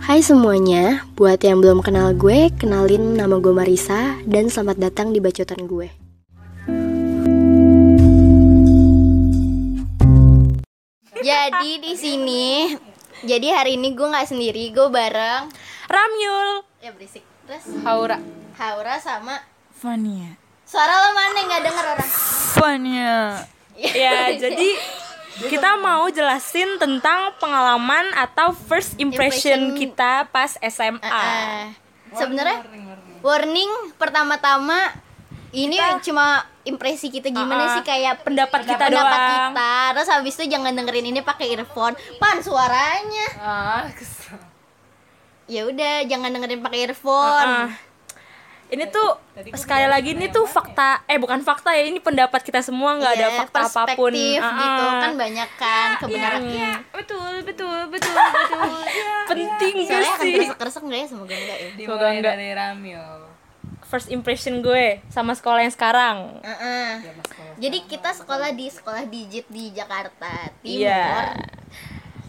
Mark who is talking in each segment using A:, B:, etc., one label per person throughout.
A: Hai semuanya, buat yang belum kenal gue, kenalin nama gue Marisa dan selamat datang di bacotan gue. Jadi di sini, jadi hari ini gue nggak sendiri, gue bareng
B: Ramyul
A: ya berisik terus
B: Haura
A: Haura sama
B: Fania
A: suara lo mana nggak denger orang.
B: Fania Ya jadi kita mau jelasin tentang pengalaman atau first impression,
A: Impression.
B: kita pas SMA
A: Ah. Sebenarnya warning pertama-tama ini cuma impresi kita gimana
B: Ah,
A: sih kayak
B: pendapat kita
A: pendapat
B: doang.
A: kita. Terus habis itu jangan dengerin ini pakai earphone. Pan suaranya.
B: Ah,
A: Ya udah, jangan dengerin pakai earphone.
B: Ah. Ini tuh sekali lagi ini tuh fakta eh bukan fakta ya ini pendapat kita semua nggak ada
A: Ya,
B: fakta apapun
A: perspektif gitu
B: Ah, ah.
A: kan banyak kan kebenaran.
B: betul betul betul betul penting gak
A: Soalnya akan
B: sih
A: keresek-keresek enggak ya semoga enggak ya.
B: Semoga enggak.
C: dari Ramil
B: first impression gue sama sekolah yang sekarang
A: Heeh. Jadi kita sekolah di sekolah digit di Jakarta Timur.
B: Iya.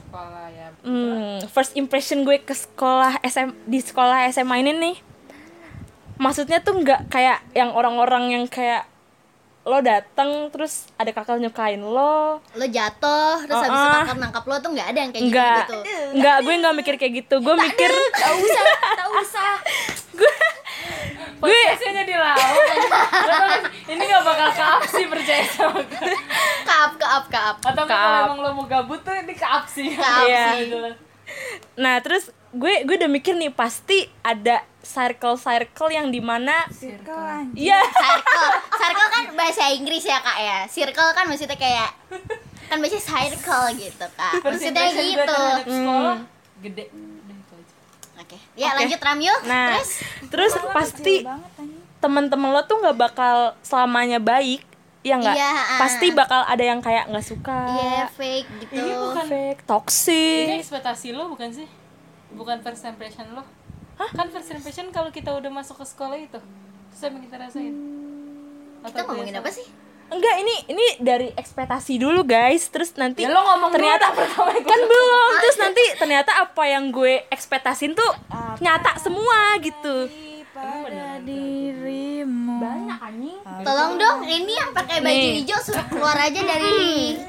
C: sekolah ya
B: Hmm, first impression gue ke sekolah SM di sekolah SMA ini nih. Maksudnya tuh nggak kayak yang orang-orang yang kayak lo datang terus ada kakak nyukain lo.
A: Lo jatuh terus habis itu
B: Heeh.
A: kakak nangkap lo tuh enggak ada yang kayak
B: Nggak,
A: gitu.
B: nggak gue nggak mikir kayak gitu. Gue mikir
A: Gak usah, gak usah.
B: gue
C: podcastnya jadi laut Gak tau gak sih, ini gak bakal kaap sih percaya sama gue
A: Kaap, kaap, kaap.
C: atau kalau
B: Kaap.
C: emang lo mau gabut tuh ini kaap sih
A: Kaap
B: Iya.
A: sih.
B: Nah, terus gue gue udah mikir nih pasti ada circle-circle yang dimana Iya,
A: Circle. Circle kan bahasa Inggris ya, Kak ya. Circle kan maksudnya kayak kan biasanya circle gitu, Kak.
C: First
A: Maksudnya
C: impression gue
A: gitu.
C: terhadap sekolah gede Udah, itu aja.
A: Oke. Ya, lanjut Ramyu.
B: Nah, terus
A: Terus
B: pasti teman-teman lo tuh nggak bakal selamanya baik, ya nggak?
A: Iya, ah.
B: Pasti bakal ada yang kayak nggak suka,
A: Iya, fake gitu.
C: Ini bukan-
B: fake,
C: ini
B: toxic.
C: ekspektasi lo bukan sih bukan first impression lo kan first impression kalau kita udah masuk ke sekolah itu terus apa yang kita rasain
A: Kita
C: Atau
A: ngomongin
C: biasa?
A: apa sih?
B: Enggak, ini ini dari ekspektasi dulu guys, terus nanti
C: ya lo ngomong dulu
B: ternyata
C: dah pertama
B: kan belum, terus nanti ternyata apa yang gue ekspektasin tuh nyata semua gitu.
D: pada dirimu
B: Banyak anjing.
A: Tolong dong, ini yang pakai baju
B: Nih.
A: hijau suruh keluar aja dari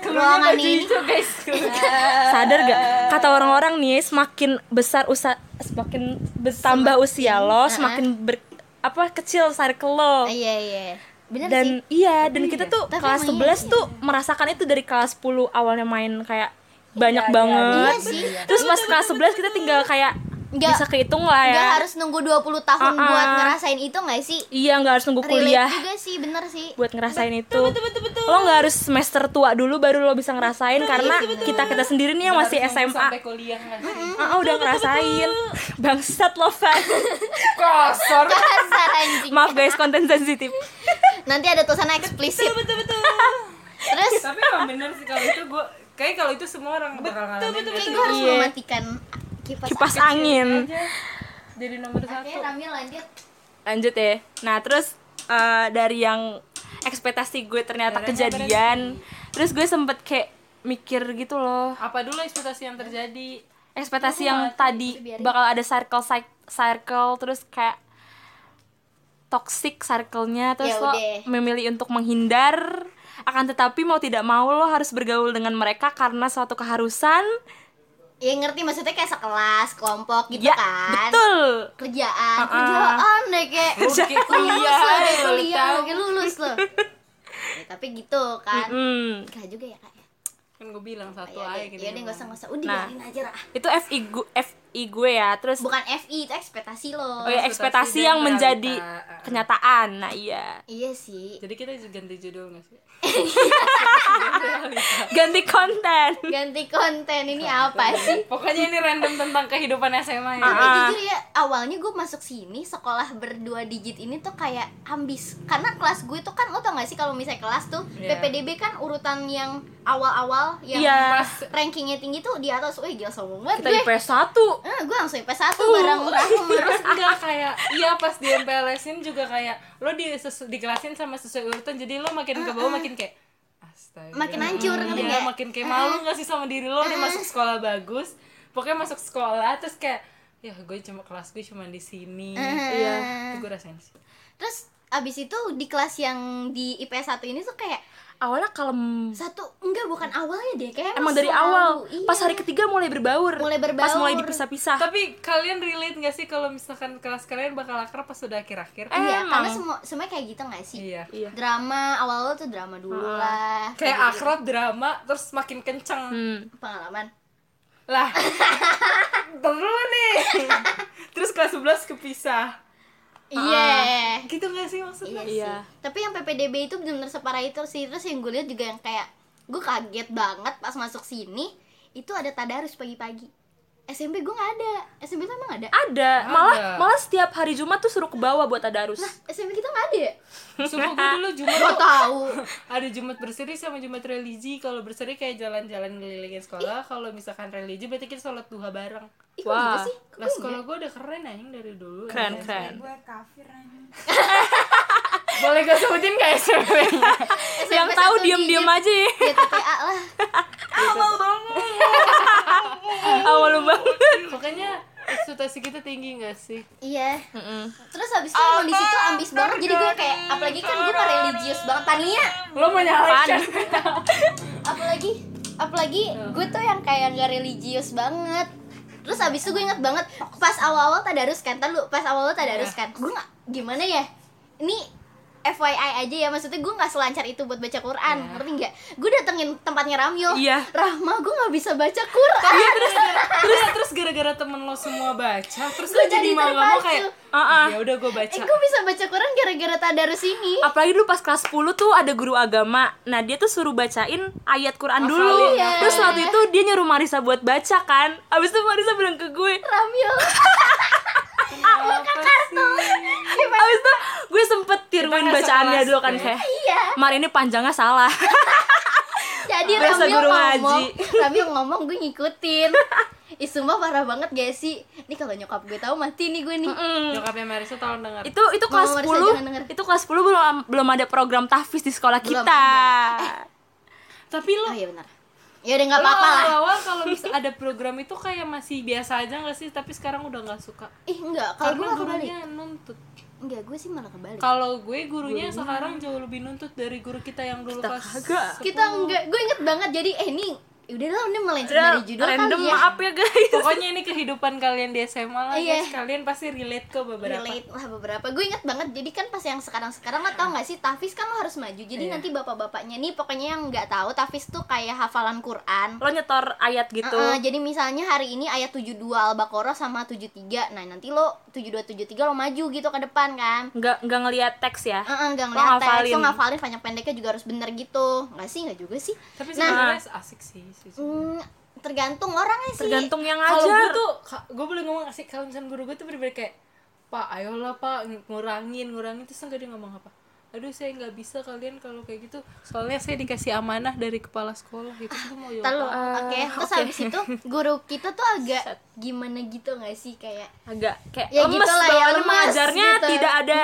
A: ruangan ini.
C: itu guys
A: Iya.
B: sadar gak kata orang-orang nih semakin besar usa semakin bertambah usia lo
A: uh-uh.
B: semakin ber- apa kecil circle lo
A: Ah, Iya, iya. Bener
B: Oh. dan
A: sih.
B: iya dan kita tuh
A: Tapi
B: kelas
A: emang
B: 11 tuh merasakan itu dari kelas 10 awalnya main kayak banyak
A: Iya
B: banget
A: sih. Iya.
B: terus pas kelas 11 kita tinggal kayak bisa
A: Nggak-
B: kehitung lah ya
A: Gak harus nunggu 20
B: Ah,
A: tahun
B: ah.
A: buat ngerasain itu gak sih?
B: iya nggak harus nunggu
A: Relate
B: kuliah
A: juga sih, bener sih.
B: buat ngerasain itu lo nggak harus semester tua dulu baru lo bisa ngerasain karena kita kita sendiri nih yang masih
C: Harus nunggu
B: SMA
C: sampai kuliah nggak sih?
B: Ah, ah, udah ngerasain bangsat lo Van
C: kasar
A: Kasar anjing.
B: maaf guys konten sensitif
A: Nanti ada tulisan eksplisit.
C: betul betul
A: Terus
C: tapi emang bener sih kalau itu gue kayak kalau itu semua orang bakal ngalamin
A: kayak gue harus
B: Iya.
A: mematikan kipas.
B: kipas angin
C: aja jadi nomor
A: Oke,
C: satu
A: Ramil lanjut.
B: lanjut ya nah terus eh, dari yang ekspektasi gue ternyata kejadian terus gue sempet kayak mikir gitu loh
C: apa dulu ekspektasi yang terjadi
B: ekspektasi yang tadi bakal ada circle cy- circle terus kayak toxic circle-nya terus lo
A: Yaudah.
B: memilih untuk menghindar akan tetapi mau tidak mau lo harus bergaul dengan mereka karena suatu keharusan
A: Ya ngerti maksudnya kayak sekelas, kelompok gitu
B: ya
A: kan.
B: betul
A: Kerjaan, kerjaan deh kayak
C: Lu kayak kuliah,
A: lulus lo, kayak
C: lu
A: kuliah,
C: tahu.
A: kayak lulus lo. Ya, tapi gitu kan.
B: Mm.
A: Enggak juga ya, Kak. ya?
C: kan gue bilang satu
A: Ya
C: aja
A: udah, ya udah
C: gitu
A: enggak usah, enggak usah. Udah
B: Nah.
A: biarin aja lah.
B: itu FI gue, FI gue ya terus
A: Bukan FI, itu ekspektasi lo.
B: oh ya
C: ekspektasi
B: ekspektasi
C: dan
B: yang menjadi
C: realita.
B: kenyataan nah iya
A: Iya sih.
C: jadi kita juga ganti judul nggak sih
B: ganti konten
A: Ganti konten ini apa sih?
C: pokoknya ini random tentang kehidupan SMA ya
A: Tapi
B: Ah.
A: jujur ya awalnya gue masuk sini sekolah berdua digit ini tuh kayak ambis karena kelas gue tuh kan lo tau gak sih kalau misalnya kelas tuh
C: Iya.
A: PPDB kan urutan yang awal-awal yang
B: Iya.
A: rankingnya tinggi tuh di atas wih gila sombong banget
B: kita
A: gue
B: IPS 1
A: Eh, gue langsung IPS
B: Uh.
A: 1 bareng Rahum
C: terus enggak kayak iya pas di MPLS-in juga kayak lo di sesu- dikelasin sama sesuai urutan jadi lo makin ke bawah makin kayak astaga
A: Ah, makin hancur ngerti Ah,
C: Iya,
A: gak?
C: makin kayak malu gak sih sama diri lo nih masuk sekolah bagus Pokoknya masuk sekolah terus kayak ya gue cuma kelas gue cuma di sini
A: Ah,
B: Iya.
C: itu gue rasain sih
A: Terus abis itu di kelas yang di IPS 1 ini tuh kayak
B: awalnya kalem
A: satu enggak bukan awalnya deh kayak
B: emang dari
A: selalu,
B: awal
A: iya.
B: pas hari ketiga mulai berbaur
A: Mulai
B: pas mulai
A: berbaur. Ah.
B: dipisah-pisah
C: tapi kalian relate gak sih kalau misalkan kelas kalian bakal akrab pas sudah akhir-akhir
B: Eh,
A: iya
B: emang.
A: karena semua semuanya kayak gitu nggak sih
C: iya
B: iya
A: drama awal tuh drama dulu lah
C: kayak akrab drama terus makin kenceng
B: hmm.
A: pengalaman
C: lah Bentar dulu nih terus kelas 11 kepisah
A: iya
C: gitu gak sih
A: iya
C: maksudnya
B: Iya.
A: sih tapi yang PPDB itu benar separah itu sih terus yang gue lihat juga yang kayak gue kaget banget pas masuk sini itu ada tadarus pagi-pagi SMP gue nggak ada SMP tuh emang ada
B: ada Nah.
C: Ada.
B: malah malah setiap hari Jumat tuh suruh ke bawah buat tadarus
A: SMP kita nggak ada ya?
C: Sumpah gue dulu Jumat
A: Gak
C: tuh
A: tahu
C: ada Jumat berseri sama Jumat religi kalau berseri kayak jalan-jalan ngelilingin sekolah kalau misalkan religi berarti kita sholat duha bareng
A: Ih, kok
B: Wah.
A: gitu sih? Kok
C: nah
A: gue
C: sekolah gue udah keren anjing dari dulu
B: keren
C: anjing.
B: keren
D: gue kafir anjing
C: boleh gue sebutin ya, gak SMP -nya?
A: nggak? SMP
B: yang tahu
A: satu
B: diem-diem
A: digit,
B: aja ya.
A: GTPA lah
D: awal banget
B: awal banget
C: makanya ekspektasi kita tinggi gak sih
A: Iya. Terus habis itu emang di situ ambis banget jadi gue kayak apalagi kan gue mah religius banget Tania.
C: lo mau nyalain
A: Apalagi apalagi gue tuh yang kayak gak religius banget. Terus habis itu gue inget banget pas awal-awal tadarus kan, tar lu pas awal-awal
B: Iya.
A: tadarus kan. Gue nggak gimana ya? Ini FYI aja ya maksudnya gue nggak selancar itu buat baca Quran ngerti nggak? Gue datengin tempatnya Ramyo,
B: Iya.
A: Rahma gue nggak bisa baca Quran,
C: terus terus gara-gara temen lo semua baca terus
A: Gua
C: lo jadi
A: jadi
C: mau gak mau
A: terpacu.
C: kayak
B: Ah, ah.
C: ya udah gue
A: eh
C: baca
A: gue bisa baca Quran gara-gara tadarus ini.
B: apalagi dulu pas kelas 10 tuh ada guru agama nah dia tuh suruh bacain ayat Quran dulu
A: Iya.
B: terus waktu itu dia nyuruh Marisa buat baca kan abis itu Marisa bilang ke gue
A: Ramyo,
C: Apa sih?
B: abis itu gue sempet tiruin
C: Kita nggak
B: bacaannya
C: sekelas
B: dulu kan
C: deh.
B: kayak
A: iya.
B: Mar ini panjangnya salah
A: Jadi
B: Berasa
A: Ramil
B: guru
A: ngomong,
B: ngaji.
A: Ramil ngomong gue ngikutin. Ih sumpah parah banget gak sih? Ini kalau nyokap gue tahu mati nih gue nih.
C: nyokapnya Marisa tolong denger
B: itu itu kelas
A: Marisa,
B: 10
A: jangan denger.
B: itu kelas 10 belum belum ada program tahfiz di sekolah
A: Belum Eh,
B: kita
C: tapi lo
A: Oh iya benar. Ya udah nggak
C: Lo
A: apa-apa lah.
C: awal-awal kalau mis ada program itu kayak masih biasa aja gak sih tapi sekarang udah nggak suka
A: Ih enggak, kalau gue
C: karena
A: malah kebalik.
C: gurunya nuntut
A: Enggak, gue sih malah kebalik.
C: kalau gue gurunya sekarang jauh lebih nuntut dari guru kita yang dulu pas
B: kagak.
A: Kita enggak, gue inget banget jadi eh ini udah lah ini melenceng
B: Udah,
A: dari judul
B: random
A: kali ya.
B: maaf ya guys
C: pokoknya ini kehidupan kalian di SMA lah
A: Iya.
C: guys kalian pasti relate ke beberapa
A: relate lah beberapa gue inget banget jadi kan pas yang sekarang sekarang lo tau gak sih tafis kan lo harus maju jadi nanti bapak-bapaknya nih pokoknya yang nggak tahu tafis tuh kayak hafalan Quran
B: lo nyetor ayat gitu
A: Heeh, jadi misalnya hari ini ayat 72 Al-Baqarah sama 73. Nah, nanti lo 72 73 lo maju gitu ke depan kan.
B: nggak nggak ngelihat teks ya
A: Heeh, enggak
B: Lo
A: ngeliat teks,
B: ngafalin.
A: lo ngafalin panjang pendeknya juga harus bener gitu. Enggak sih, enggak juga sih.
C: tapi
A: Nah.
C: sebenarnya asik sih
A: Hmm,
C: sejujurnya.
A: tergantung orangnya sih.
B: tergantung yang
C: kalau gue
B: ngajar
C: tuh ka- gue boleh ngomong asik kalau misalnya guru gue tuh bener-bener kayak pak ayolah pak ng- ngurangin ngurangin terus enggak dia ngomong apa aduh saya nggak bisa kalian kalau kayak gitu soalnya saya dikasih amanah dari kepala sekolah gitu gue mau jawab
A: Ntar lo,
C: apa?
A: oke,
B: Ah,
A: terus habis itu guru kita tuh agak gimana gitu nggak sih kayak
B: agak kayak
A: Ya
B: lemes
A: gitu lah ya,
B: bawaannya
A: lemes
B: mengajarnya
A: gitu.
B: tidak ada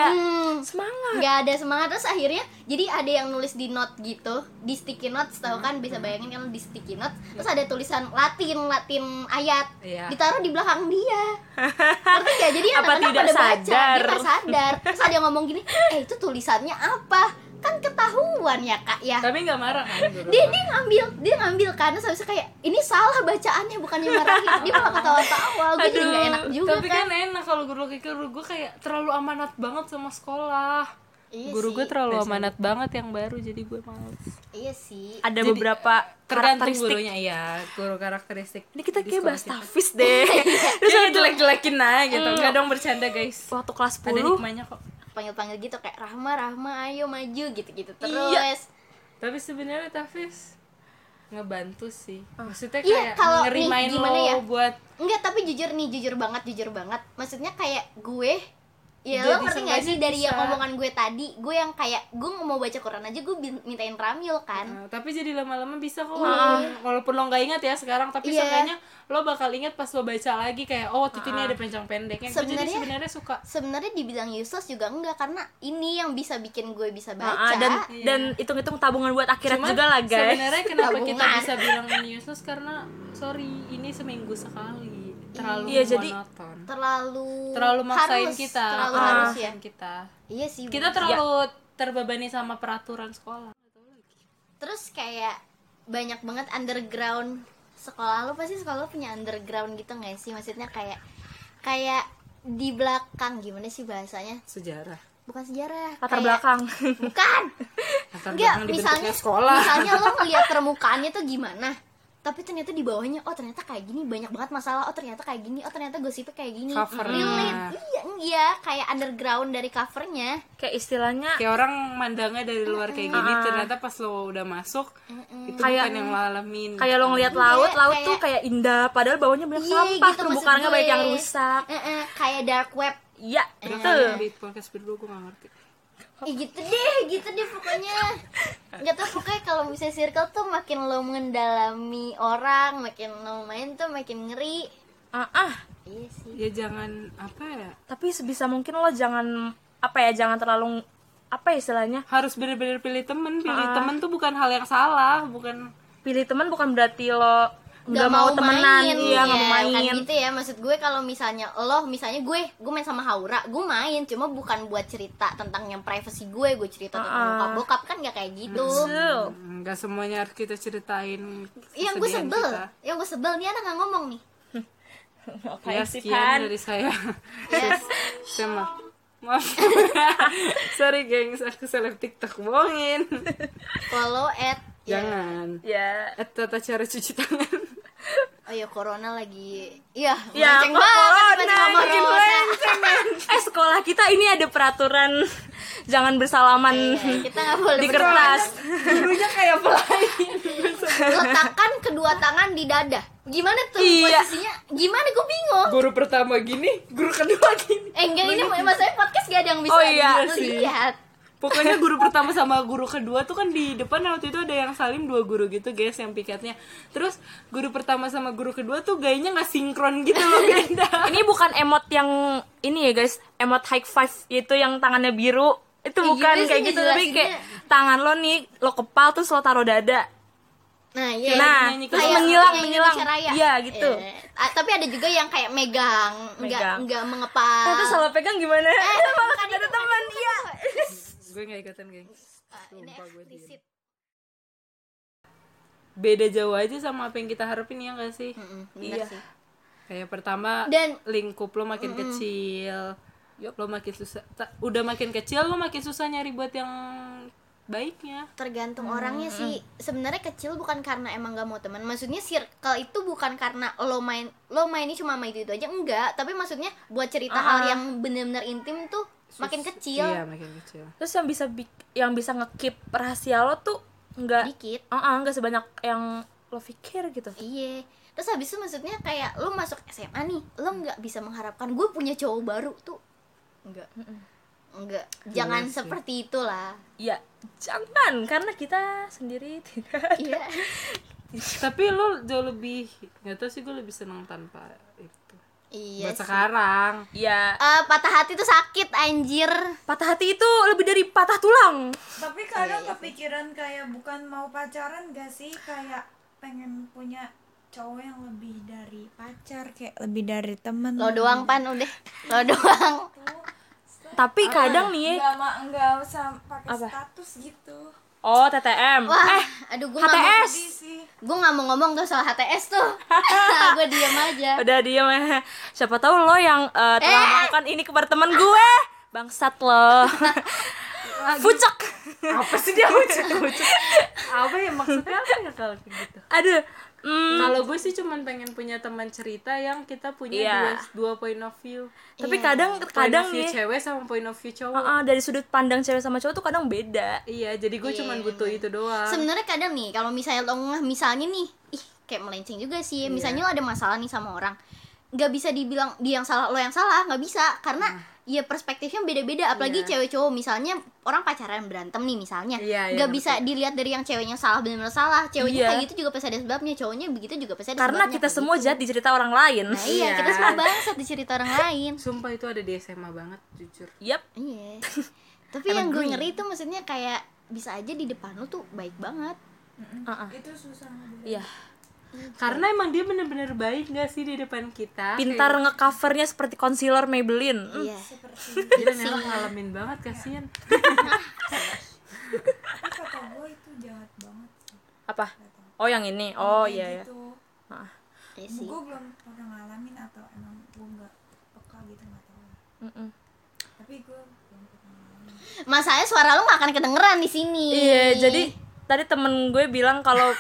A: Hmm.
B: semangat
A: nggak ada semangat terus akhirnya jadi ada yang nulis di note gitu di sticky notes tahu kan bisa
B: Hmm.
A: bayangin kan di sticky notes terus ada tulisan Latin Latin ayat
C: Iya.
A: ditaruh di belakang dia ngerti gak jadi
B: Apa
A: anak-anak
B: tidak
A: pada baca
B: sadar?
A: dia nggak sadar terus ada yang ngomong gini eh itu tulisannya apa kan ketahuan ya kak ya
C: tapi nggak marah kan guru
A: dia dia ngambil dia ngambil kan terus habis itu kayak ini salah bacaannya bukannya marahin dia malah ketawa-tawa gue jadi nggak enak juga
C: tapi
A: kan,
C: kan, enak kalau guru kayak guru gue kayak terlalu amanat banget sama sekolah
A: Iya
C: guru gue
A: sih.
C: terlalu amanat banget yang baru jadi gue males
A: iya sih
B: ada
C: Jadi,
B: beberapa
C: tergantung
B: karakteristik
C: gurunya ya guru karakteristik
B: ini kita
C: di
B: kayak
C: sekolah
B: bahas
C: kita.
B: tafis deh terus
C: Jangan
B: waktu-
C: jelek-jelekin nah gitu
A: Hmm.
C: nggak dong bercanda guys
B: waktu kelas
C: ada
B: 10
C: hikmahnya kok
A: panggil-panggil gitu kayak Rahma Rahma ayo maju gitu-gitu
C: Iya.
A: terus
C: tapi sebenarnya Tafis ngebantu sih
B: Ah.
C: maksudnya
A: Iya,
C: kayak
A: kalau nih,
C: ngerimain
A: gimana
C: lo
A: ya?
C: buat
A: Enggak, tapi jujur nih, jujur banget, jujur banget. Maksudnya kayak gue Ya lo
C: Jadi
A: ngerti gak sih
C: seenggaknya
A: dari yang
C: bisa.
A: omongan gue tadi Gue yang kayak Gue mau baca Quran aja Gue bin- mintain Ramil kan
C: Nah, tapi jadi lama-lama bisa kok walaupun, walaupun lo nggak ingat ya sekarang tapi
A: Iya.
C: seenggaknya lo bakal ingat pas lo baca lagi kayak oh waktu itu ini ada pencang pendeknya Gua jadi
A: Ah. Sebenarnya-
C: sebenarnya suka
A: Sebenarnya dibilang useless juga enggak Karena ini yang bisa bikin gue bisa
B: Ah,
A: baca
B: dan dan hitung-hitung tabungan buat akhirat
C: Cuman
B: juga lah guys
C: sebenarnya kenapa kita
A: Tabungan.
C: bisa bilang ini useless karena sorry ini seminggu sekali terlalu
B: Iya, jadi-
C: monoton
A: Terlalu
C: terlalu maksain
A: harus,
C: kita
A: Terlalu
C: Ah.
A: harus ya
C: kita
A: Iya sih
C: kita terlalu
B: Iya.
C: terbebani sama peraturan sekolah
A: Terus kayak banyak banget underground sekolah lu pasti sekolah lu punya underground gitu nggak sih maksudnya kayak kayak di belakang gimana sih bahasanya
C: sejarah
A: bukan sejarah
B: latar
A: kayak-
B: belakang
A: bukan
C: Latar
A: enggak
C: belakang
A: misalnya
C: dibentuknya sekolah
A: misalnya lo ngeliat permukaannya tuh gimana tapi ternyata di bawahnya oh ternyata kayak gini banyak banget masalah oh ternyata kayak gini oh ternyata gosipnya kayak gini
C: Covernya.
A: relate iya iya kayak underground dari covernya
B: kayak istilahnya
C: kayak orang mandangnya dari luar kayak gini ternyata pas lo udah masuk itu
B: Kayak-
C: bukan yang lo alamin
B: kayak lo ngelihat
A: Iya,
B: laut laut
A: kayak-
B: tuh kayak indah padahal bawahnya banyak
A: Iya,
B: sampah
A: gitu maksud
B: terumbu karangnya banyak
A: gue.
B: yang rusak
A: Eh-eh, kayak dark web
B: iya
C: Berapa
B: betul
C: kali di podcast berdua gue gak ngerti
A: Ih, gitu deh gitu deh pokoknya nggak tau pokoknya kalau misalnya circle tuh makin lo mendalami orang makin lo main tuh makin ngeri
B: ah, ah.
A: iya sih
C: ya jangan apa ya
B: tapi sebisa mungkin lo jangan apa ya jangan terlalu apa ya istilahnya
C: harus bener-bener pilih temen pilih
A: Ah.
C: temen tuh bukan hal yang salah bukan
B: pilih teman bukan berarti lo nggak
A: Gak
B: mau, temenan
A: main,
B: iya nggak mau
A: ya,
B: main
A: bukan gitu ya maksud gue kalau misalnya lo misalnya gue gue main sama Haura gue main cuma bukan buat cerita tentang yang privacy gue gue cerita tentang
B: Ah.
A: bokap bokap kan gak kayak gitu
B: Betul.
C: nggak semuanya harus kita ceritain
A: yang Iya, gue
C: kesedihan
A: sebel
C: kita.
A: yang gue sebel nih anak nggak ngomong nih
C: ya
B: Makasih, Pan.
C: sekian dari saya
A: Yes.
C: saya maaf maaf sorry gengs aku seleb tiktok bohongin
A: follow at
C: jangan
B: ya
C: Eh, tata cara cuci tangan
A: oh ya corona lagi iya
B: Ya,
A: melenceng
B: kok gitu. corona,
A: tiba-tiba ngomong
B: makin eh sekolah kita ini ada peraturan jangan bersalaman
A: Iya, kita nggak boleh
B: di
A: berdua.
B: kertas
C: gurunya kayak pelayan
A: letakkan kedua tangan di dada gimana tuh
B: Iya.
A: posisinya gimana gue bingung
C: guru pertama gini guru kedua gini
A: eh enggak ini maksudnya podcast gak ada yang bisa
B: Oh, iya
C: sih.
A: dilihat
C: Pokoknya guru pertama sama guru kedua tuh kan di depan waktu itu ada yang salim dua guru gitu guys yang piketnya. Terus guru pertama sama guru kedua tuh gayanya nggak sinkron gitu loh beda.
B: ini bukan emot yang ini ya guys emot high five itu yang tangannya biru itu
A: Kayak
B: bukan
A: gitu sih
B: kayak gitu tapi
A: ngejelasinnya.
B: kayak tangan lo nih lo kepal terus lo taruh dada
A: Nah, iya.
B: Nah,
C: nyanyi
B: terus
C: kayak
B: menghilang,
A: yang
B: menghilang.
A: Indonesia Raya.
B: Iya, gitu.
A: Iya. Ah, tapi ada juga yang kayak megang, enggak
B: Megang.
A: enggak mengepal.
B: Nah, terus salah pegang gimana? Eh, malah
A: kan
B: kan ada
A: itu,
B: teman. Iya.
C: gue nggak ikutan guys.
A: Ah, ini eksplisit.
C: Beda jauh aja sama apa yang kita harapin ya nggak sih?
A: Mm, benar sih.
C: Kayak pertama
A: Dan-
C: lingkup lo makin kecil. lo makin susah ta- udah makin kecil lo makin susah nyari buat yang baiknya.
A: Tergantung orangnya sih. Sebenarnya kecil bukan karena emang gak mau teman. Maksudnya circle itu bukan karena lo main lo mainnya cuma main itu, aja enggak, tapi maksudnya buat cerita hal yang benar-benar intim tuh makin kecil.
C: Iya, makin kecil.
B: Terus yang bisa bik- yang bisa ngekip rahasia lo tuh enggak
A: Dikit.
B: Heeh, enggak sebanyak yang lo pikir gitu.
A: Iya. Terus habis itu maksudnya kayak lo masuk SMA nih, lo nggak bisa mengharapkan gue punya cowok baru tuh. Enggak. Enggak. Jangan seperti itulah.
B: Iya, jangan karena kita sendiri tidak.
A: Iya.
C: Tapi lo jauh lebih nggak tau sih gue lebih seneng tanpa itu.
A: iya.
C: Buat
A: sih.
C: sekarang.
B: Iya.
A: Eh, patah hati tuh sakit anjir.
B: Patah hati itu lebih dari patah tulang.
D: Tapi kadang kepikiran kayak bukan mau pacaran gak sih kayak pengen punya cowok yang lebih dari pacar kayak lebih dari temen
A: Lo doang pan udah. Lo doang.
B: Tapi
A: Ah,
B: kadang nih,
D: nggak ma nggak usah pakai status gitu
B: oh TTM.
A: Wah,
B: Eh,
A: aduh gue nggak
B: HTS.
D: Sedih sih
A: gue nggak mau ngomong tuh soal HTS tuh. gue diam aja.
B: Udah diam ya. Siapa tahu lo yang eh, telah melakukan ini kepada teman gue. Bangsat lo. Fucek.
C: Apa sih dia lucu lucu? Apa ya maksudnya apa ya kalau kayak gitu?
B: Aduh. Hmm,
C: Kalau gue sih cuman pengen punya teman cerita yang kita punya
B: Iya.
C: dua, dua point of view.
B: tapi
A: Iya,
B: kadang
C: Point
B: kadang
C: of view
B: nih
C: cewek sama point of view cowok.
B: uh-uh, dari sudut pandang cewek sama cowok tuh kadang beda.
C: Iya, jadi gue cuman butuh itu doang.
A: Sebenarnya kadang nih kalau misalnya lo ngeh, misalnya nih, ih kayak melenceng juga sih.
B: Iya. Nah.
A: Misalnya lo ada masalah nih sama orang, nggak bisa dibilang dia yang salah lo yang salah, nggak bisa karena ya perspektifnya beda-beda apalagi
C: Iya.
A: cewek cowok misalnya orang pacaran berantem nih misalnya
C: Iya, iya,
A: nggak bisa dilihat dari yang ceweknya salah benar-benar salah ceweknya
B: Iya.
A: kayak gitu juga pasti ada sebabnya cowoknya begitu juga pasti ada
B: karena
A: sebabnya,
B: kita
A: kayak
B: semua
A: gitu.
B: jahat di cerita orang lain
A: nah, iya kita
C: Iya.
A: semua bangsat di cerita orang lain
C: Sumpah itu ada di SMA banget jujur.
B: Yap,
A: iya tapi
B: Emang
A: yang gue
B: gue-
A: ngeri itu maksudnya kayak bisa aja di depan lu tuh baik banget
B: Ah, ah.
D: itu susah
B: iya.
C: Karena emang dia bener-bener baik gak sih di depan kita?
B: Pintar ngecovernya seperti concealer Maybelline. Mm.
A: iya
D: seperti
C: Kayak, Gila Nela ngalamin banget kasihan.
D: Tapi kata gue itu jahat banget sih
B: Apa? Oh yang ini. Oh
D: Kayak
B: iya ya.
D: gitu.
B: Ah.
A: iya sih
D: gue belum pernah ngalamin atau emang gue nggak peka gitu nggak tahu ya.
B: Mm-mm.
D: tapi gue belum pernah ngalamin
A: masalahnya suara lu gak akan kedengeran di sini
B: Iya, jadi tadi temen gue bilang kalau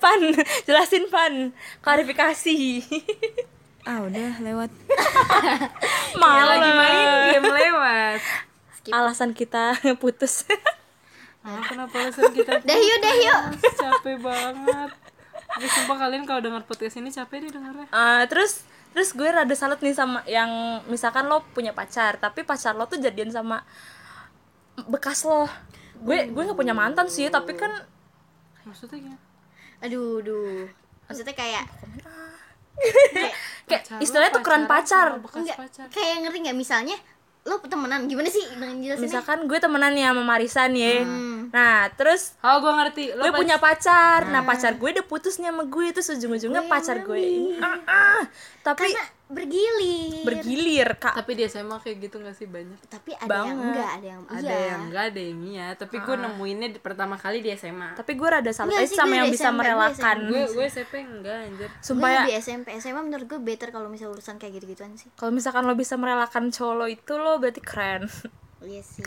B: Pan, jelasin Pan, klarifikasi.
D: ah udah lewat
B: Malah
C: Game lewat.
B: alasan kita putus.
C: Ah, kenapa alasan kita
A: dah yuk dah yuk
C: putus? capek banget? Gue sumpah kalian kalau dengar podcast ini capek deh dengarnya.
B: Eh, terus terus gue rada salut nih sama yang misalkan lo punya pacar, tapi pacar lo tuh jadian sama bekas lo. Gue gue nggak punya mantan sih, tapi kan
C: Maksudnya gimana?
A: aduh aduh maksudnya kayak
B: kayak
C: Pacar lo
B: istilahnya tukeran pacar.
C: pacaran sama bekas
A: enggak
C: pacar.
A: kayak ngerti nggak misalnya lu temenan gimana sih Jangan jelasin deh.
B: Misalkan gue temenan nih sama Marisan ya.
A: Hmm.
B: Nah, terus
C: Oh, gue ngerti. Lo
B: gue
C: pac-
B: punya pacar nah pacar gue udah putus nih sama gue terus ujung-ujungnya pacar gue ini ah, ah. tapi
A: Karena iya. bergilir.
B: bergilir kak
C: Tapi di SMA kayak gitu gak sih banyak?
A: tapi ada yang
B: Banget.
A: enggak, ada yang
C: Ada
A: iya.
C: yang enggak, ada yang iya. Tapi gue nemuinnya di- pertama kali di
B: Ah.
C: SMA.
B: tapi gue rada salah eh,
A: Enggak sih,
B: sama
A: gue
B: yang
A: udah
B: bisa
A: SMP, gue
B: merelakan
C: Gue gue SMP enggak anjir.
A: Gue
B: sumpah ya
A: lebih SMP, SMA menurut gue better kalau misal urusan kayak gitu-gituan sih.
B: kalau misalkan lo bisa merelakan cowok lo itu lo berarti keren
A: Iya sih.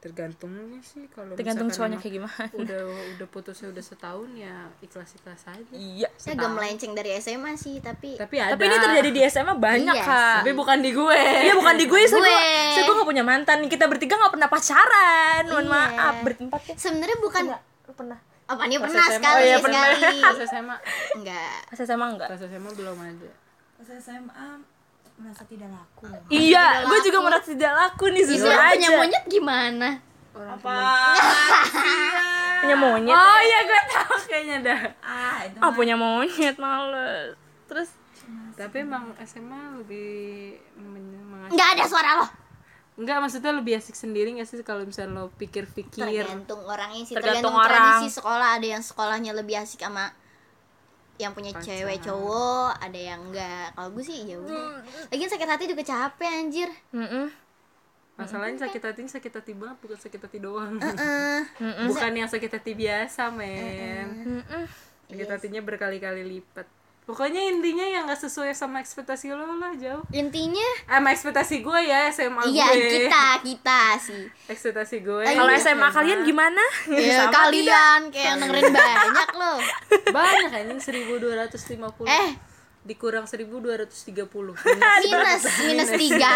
C: Tergantungnya sih
A: ya.
C: kalau
B: tergantung
C: misalkan
B: cowoknya
C: emang
B: kayak gimana
C: udah udah putusnya udah setahun ya ikhlas-ikhlas aja.
B: iya
A: Saya agak melenceng dari SMA sih, tapi
C: Tapi ada.
B: tapi ini terjadi di SMA banyak
A: Iya
B: kak
C: Tapi bukan di gue.
B: Iya bukan di gue, saya
A: Gue.
B: gue, saya gue gak punya mantan. Kita bertiga gak pernah pacaran. Mohon
A: Iya.
B: maaf, berempat ya.
A: sebenarnya bukan
B: Enggak, lu pernah.
A: apa nih
B: Pas
A: pernah
B: SMA.
A: sekali
B: Oh iya, pernah.
A: sekali.
C: Pas SMA.
A: Enggak.
B: Pas SMA enggak?
C: Pas SMA belum ada.
D: pas SMA merasa tidak laku
B: Iya, gue juga merasa tidak laku nih
A: Itu
B: jujur
A: yang
B: aja.
A: Iya, punya monyet gimana?
C: Orang
D: apa
B: Punya monyet.
C: Oh
B: ya.
C: iya gue tahu kayaknya dah.
D: ah itu
B: Ah, punya monyet males. Terus
C: Tapi emang SMA lebih men- mengasih.
A: Enggak ada suara lo.
C: Enggak maksudnya lebih asik sendiri gak sih kalau misalnya lo pikir-pikir.
A: Tergantung orangnya sih, tergantung,
B: Tergantung
A: tradisi
B: orang.
A: sekolah. Ada yang sekolahnya lebih asik sama yang punya cewek cowok, ada yang enggak. Kalau gue sih ya
B: Hmm.
A: udah. Lagian sakit hati juga capek anjir.
B: Mm-mm.
C: Masalahnya sakit hatinya sakit hati banget bukan sakit hati doang.
A: Heeh.
C: Bukan yang sakit hati biasa, men.
B: Mm-mm.
C: Sakit hatinya berkali-kali lipat. Pokoknya intinya yang gak sesuai sama ekspektasi lo lah jauh. Ah,
A: Intinya
C: Sama ekspektasi gue ya SMA
A: iya
C: gue.
A: kita kita sih.
C: Ekspektasi gue.
B: Kalau
C: Iya,
B: SMA kalian gimana?
A: Ya,
B: Sama tidak?
A: kalian kayak yang dengerin banyak loh.
C: Banyak anjing 1250.
A: Eh.
C: dikurang 1230.
A: Minus minus tiga.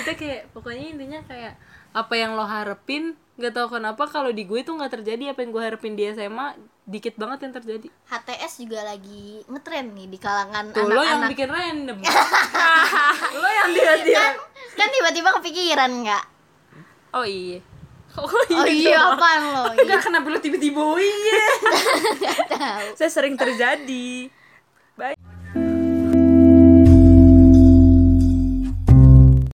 C: Kita kayak pokoknya intinya kayak apa yang lo harapin nggak tahu kenapa kalau di gue tuh nggak terjadi apa yang gue harapin di SMA dikit banget yang terjadi
A: HTS juga lagi ngetren nih di kalangan
C: tuh lo yang
A: anak-anak.
C: bikin random lo yang tiba-tiba
A: Kan tiba-tiba kepikiran nggak?
B: Oh iya.
A: Oh iya apaan lo?
C: Enggak kenapa lu tiba-tiba oh iya.
A: Tahu.
B: Saya sering terjadi.